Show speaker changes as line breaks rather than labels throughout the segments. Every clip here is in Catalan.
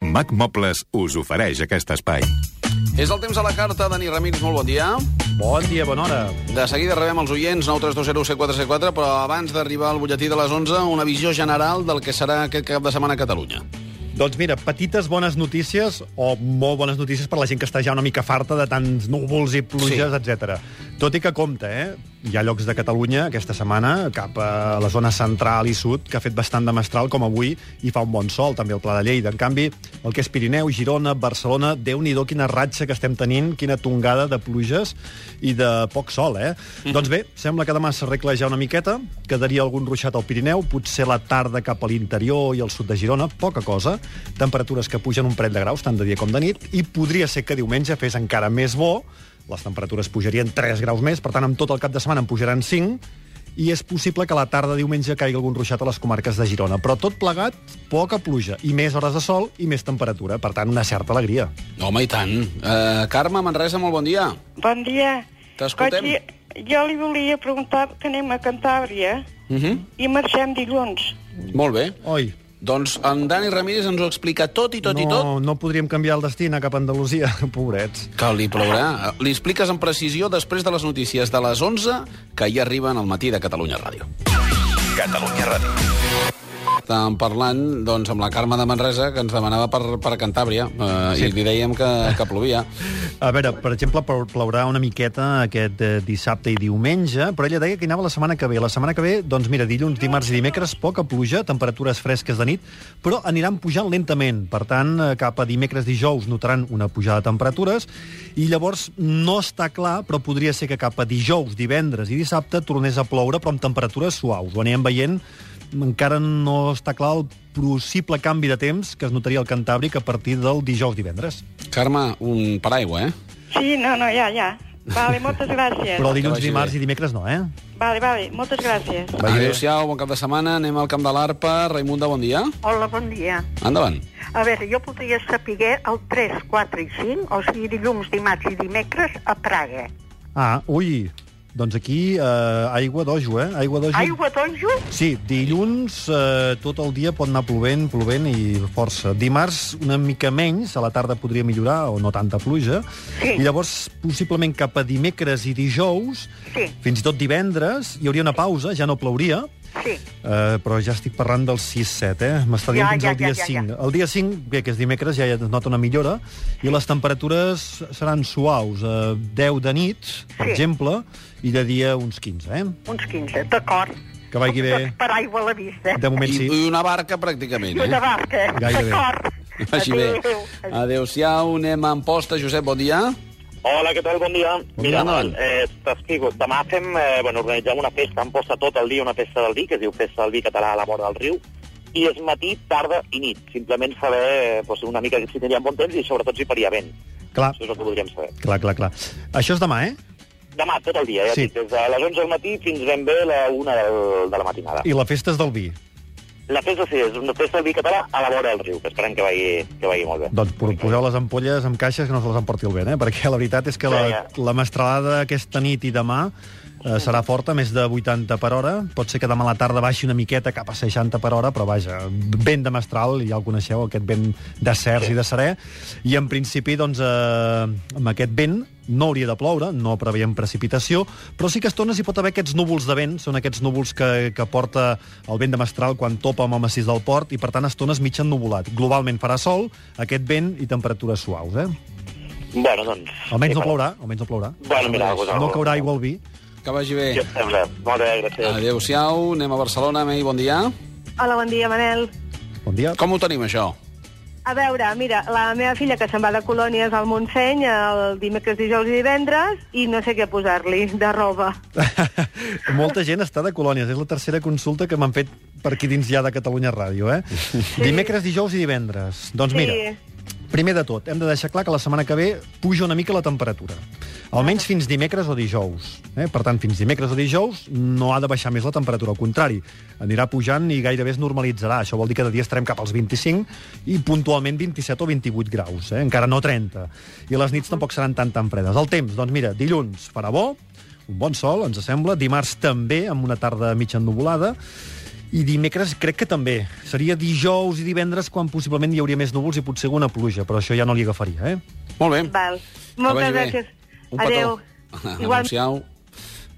Mac Mobles us ofereix aquest espai.
És el temps a la carta, Dani Ramírez, molt bon dia.
Bon dia, bona hora.
De seguida rebem els oients 932017474, però abans d'arribar al butlletí de les 11, una visió general del que serà aquest cap de setmana a Catalunya.
Doncs mira, petites bones notícies, o molt bones notícies per la gent que està ja una mica farta de tants núvols i pluges,
Sí.
sí. etc. Tot i que compte, eh? Hi ha llocs de Catalunya aquesta setmana, cap a la zona central i sud, que ha fet bastant de mestral, com avui, i fa un bon sol, també el Pla de Lleida. En canvi, el que és Pirineu, Girona, Barcelona, déu nhi quina ratxa que estem tenint, quina tongada de pluges i de poc sol, eh? Mm -hmm. Doncs bé, sembla que demà s'arregla ja una miqueta, quedaria algun ruixat al Pirineu, potser la tarda cap a l'interior i al sud de Girona, poca cosa, temperatures que pugen un parell de graus, tant de dia com de nit, i podria ser que diumenge fes encara més bo, les temperatures pujarien 3 graus més, per tant, amb tot el cap de setmana en pujaran 5, i és possible que a la tarda diumenge caigui algun ruixat a les comarques de Girona. Però tot plegat, poca pluja, i més hores de sol i més temperatura. Per tant, una certa alegria.
Home, i tant. Uh, Carme Manresa, molt bon dia.
Bon dia.
T'escoltem.
Escolti, Jo li volia preguntar que anem a Cantàbria
Uh
Mhm.
-huh.
i marxem dilluns.
Molt bé.
Oi,
Doncs en Dani Ramírez ens ho explica tot i tot i tot.
no, no podríem canviar el destí anar cap a Andalusia, pobrets.
Que li plourà. Li expliques amb precisió després de les notícies de les 11 que ja arriben al matí de Catalunya Ràdio.
Catalunya Ràdio.
Estàvem parlant doncs, amb la Carme de Manresa, que ens demanava per, per Cantàbria, eh, sí. i li dèiem que, que plovia.
A veure, per exemple, plou- plourà una miqueta aquest eh, dissabte i diumenge, però ella deia que hi anava la setmana que ve. La setmana que ve, doncs mira, dilluns, dimarts i dimecres, poca pluja, temperatures fresques de nit, però aniran pujant lentament. Per tant, eh, cap a dimecres, dijous, notaran una pujada de temperatures, i llavors no està clar, però podria ser que cap a dijous, divendres i dissabte tornés a ploure, però amb temperatures suaus. Ho anirem veient encara no està clar el possible canvi de temps que es notaria al Cantàbric a partir del dijous-divendres.
Carme, un paraigua, eh?
Sí, no, no, ja, ja. Vale, moltes gràcies.
Però
Que
dilluns,
vagi
dimarts
bé.
i dimecres no, eh?
Vale, vale, moltes gràcies.
Vagi bé.
Adéu-siau, bon cap de setmana. Anem al Camp de l'Arpa. Raimunda, bon dia.
Hola, bon dia.
Endavant.
A veure, jo podria saber el 3, 4 i 5, o sigui, dilluns, dimarts i dimecres, a Praga.
Ah, ui, doncs aquí eh, aigua d'ojo, eh? Aigua d'ojo.
Aigua d'onjo?
Sí, dilluns eh, tot el dia pot anar plovent, plovent i força. Dimarts una mica menys, a la tarda podria millorar o no tanta pluja.
Sí.
I llavors possiblement cap a dimecres i dijous,
Sí.
fins i tot divendres, hi hauria una pausa, ja no plouria,
Sí.
Uh, però ja estic parlant del 6-7, eh? M'està dient
Ja,
fins
ja,
al dia
ja, ja,
5. El dia 5, bé, que és dimecres, ja es nota una millora, i les temperatures seran suaus, eh, 10 de nit, per
Sí.
exemple, i de dia uns 15, eh?
Uns 15, d'acord.
Que vagi bé.
Doncs per aigua a la vista.
De moment
I,
sí.
I una barca, pràcticament,
I una
eh?
barca.
Gairebé.
D'acord.
Així bé.
Adéu.
Adéu-siau, anem a Amposta. Josep, bon dia.
Hola, què tal? Bon dia.
Bon
Mira,
dia, Manuel.
eh, t'explico. Demà fem, eh, bueno, organitzem una festa, em posa tot el dia una festa del vi, que es diu Festa del Vi Català a la vora del riu, i és matí, tarda i nit. Simplement saber eh, doncs, una mica si tindríem bon temps i sobretot si faria vent.
Clar,
Això és el que voldríem saber.
clar, clar, clar. Això és demà, eh?
Demà, tot el dia, ja
Sí.
sí. dic, des de les 11 del matí fins ben bé la 1 del, de la matinada.
I la festa és del vi.
La festa sí, és una festa del vi català a la vora del riu, que esperem que vagi, que vagi molt bé.
Doncs po- poseu les ampolles amb caixes que no se les emporti el vent, eh? Perquè la veritat és que la,
Ja,
la mestralada aquesta nit i demà eh, serà forta, més de 80 per hora. Pot ser que demà a la tarda baixi una miqueta cap a 60 per hora, però vaja, vent de mestral, ja el coneixeu, aquest vent de cerç i de serè. I en principi, doncs, eh, amb aquest vent no hauria de ploure, no preveiem precipitació, però sí que a estones hi pot haver aquests núvols de vent, són aquests núvols que, que porta el vent de mestral quan topa amb el massís del port, i per tant a estones mig ennuvolat. Globalment farà sol, aquest vent i temperatures suaus, eh?
Bueno, doncs...
Almenys no
sí,
plourà, almenys no plourà.
Bueno, mira, pues,
No caurà aigua al vi.
Que vagi bé.
Ja et sembla. Molt bé, gràcies.
Adéu-siau, anem a Barcelona. Mei, bon dia.
Hola, bon dia, Manel.
Bon dia.
Com ho tenim, això?
A veure, mira, la meva filla que se'n va de colònies al Montseny el dimecres, dijous i divendres i no sé què posar-li de roba.
Molta gent està de colònies. És la tercera consulta que m'han fet per aquí dins ja de Catalunya Ràdio, eh? Sí. Dimecres, dijous i divendres. Doncs mira, primer de tot, hem de deixar clar que la setmana que ve puja una mica la temperatura. Almenys fins dimecres o dijous. Eh? Per tant, fins dimecres o dijous no ha de baixar més la temperatura. Al contrari, anirà pujant i gairebé es normalitzarà. Això vol dir que de dia estarem cap als 25 i puntualment 27 o 28 graus. Eh? Encara no 30. I les nits tampoc seran tan tan fredes. El temps, doncs mira, dilluns farà bo, un bon sol, ens sembla. Dimarts també, amb una tarda mitja ennuvolada. I dimecres crec que també. Seria dijous i divendres quan possiblement hi hauria més núvols i potser alguna pluja, però això ja no li agafaria, eh?
Molt bé.
Val.
vagi
Moltes
bé.
gràcies.
Un petó.
Adéu.
Igual... Anunciau.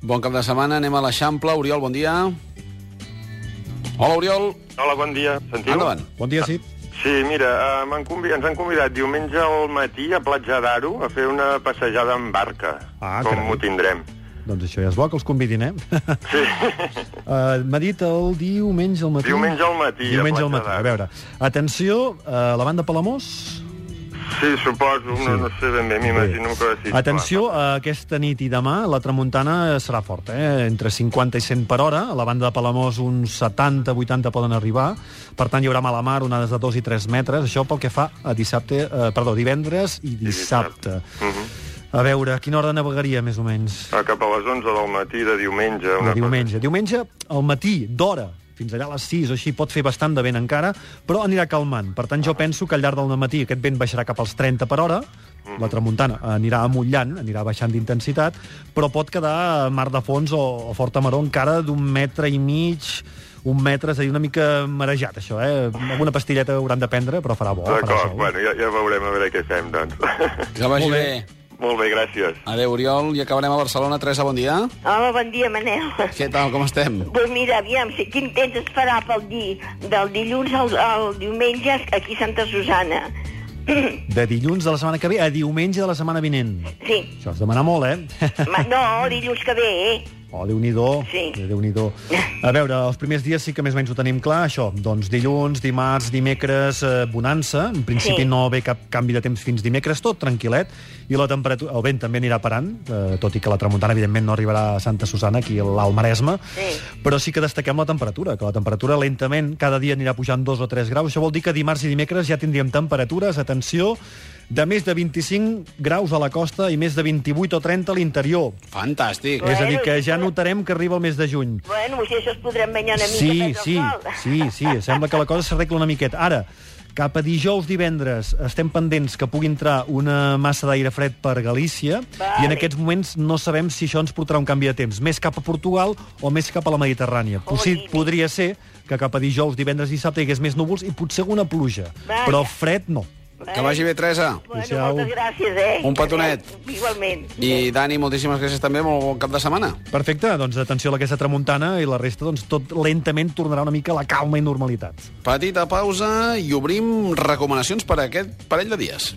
Bon cap de setmana, anem a l'Eixample. Oriol, bon dia. Hola, Oriol.
Hola, bon dia. Sentiu?
Endavant.
Bon dia, sí.
Sí, mira, eh, m'han convi... ens han convidat diumenge al matí a Platja d'Aro a fer una passejada en barca.
Ah,
com
carai.
ho tindrem.
Doncs això ja és bo, que els convidin, eh?
Sí,
Uh, M'ha dit el diumenge al matí.
Diumenge al matí, a
Diumenge al
Platja
matí, a
d'Aro.
veure. Atenció, uh, la banda Palamós...
sí suposo, no, no sé ben bé, m'imagino que... Sí,
Atenció, eh, aquesta nit i demà la tramuntana serà forta, eh? entre 50 i 100 per hora. A la banda de Palamós uns 70-80 poden arribar. Per tant, hi haurà mala mar, onades de 2 i 3 metres. Això pel que fa a dissabte, eh, perdó, divendres i dissabte.
Uh -huh.
A veure, a quina hora navegaria, més o menys?
Ah, Cap a les 11 del matí de diumenge.
De
Una
diumenge. Diumenge, al matí, d'hora, fins allà a les 6 o així, pot fer bastant de vent encara, però anirà calmant. Per tant, jo penso que al llarg del matí aquest vent baixarà cap als 30 per hora,
Mm.
la tramuntana anirà amullant, anirà baixant d'intensitat, però pot quedar mar de fons o, o forta maró encara d'un metre i mig, un metre, és a dir, una mica marejat, això, eh? Alguna pastilleta hauran de prendre, però farà bo.
cosa.
farà
D'acord,
sol.
bueno, ja, ja veurem a veure què fem, doncs.
Que vagi bé.
Molt bé, gràcies.
Adéu, Oriol. I acabarem a Barcelona. Teresa, bon dia.
Hola, bon dia, Manel.
Què tal, com estem?
Doncs mira, aviam, si quin temps es farà pel di, del dilluns al, al diumenge aquí a Santa Susana.
De dilluns de la setmana que ve a diumenge de la setmana vinent.
Sí,
Això has demanar molt, eh?
Ma, no, dilluns que ve, eh?
Oh, déu nhi
Sí.
déu nhi A veure, els primers dies sí que més o menys ho tenim clar, això. Doncs dilluns, dimarts, dimecres, eh, bonança. En principi
Sí.
no ve cap canvi de temps fins dimecres, tot tranquil·let. I la temperatura... El vent també anirà parant, eh, tot i que la tramuntana, evidentment, no arribarà a Santa Susana, aquí a l'Alt Maresme.
Sí.
Però sí que destaquem la temperatura, que la temperatura lentament cada dia anirà pujant 2 o 3 graus. Això vol dir que dimarts i dimecres ja tindríem temperatures, atenció, de més de 25 graus a la costa i més de 28 o 30 a l'interior.
Fantàstic.
Bueno,
És a dir, que ja
i-
notarem que arriba el mes de juny.
Bueno, si això es podrem banyar una mica
Sí,
més al
sí,
sol.
sí, sí, sembla que la cosa s'arregla una miqueta. Ara, cap a dijous, divendres, estem pendents que pugui entrar una massa d'aire fred per Galícia i en
Vale.
aquests moments no sabem si això ens portarà un canvi de temps, més cap a Portugal o més cap a la Mediterrània. Possi
Jolines.
podria ser que cap a dijous, divendres, dissabte hi hagués més núvols i potser alguna pluja,
Vaja.
però fred no.
Que vagi bé, Teresa.
Bueno,
Adéu-siau.
moltes gràcies, eh?
Un petonet.
Igualment.
I, Dani, moltíssimes gràcies també. Molt bon cap de setmana.
Perfecte, doncs atenció a aquesta tramuntana i la resta, doncs tot lentament tornarà una mica a la calma i normalitat.
Petita pausa i obrim recomanacions per a aquest parell de dies.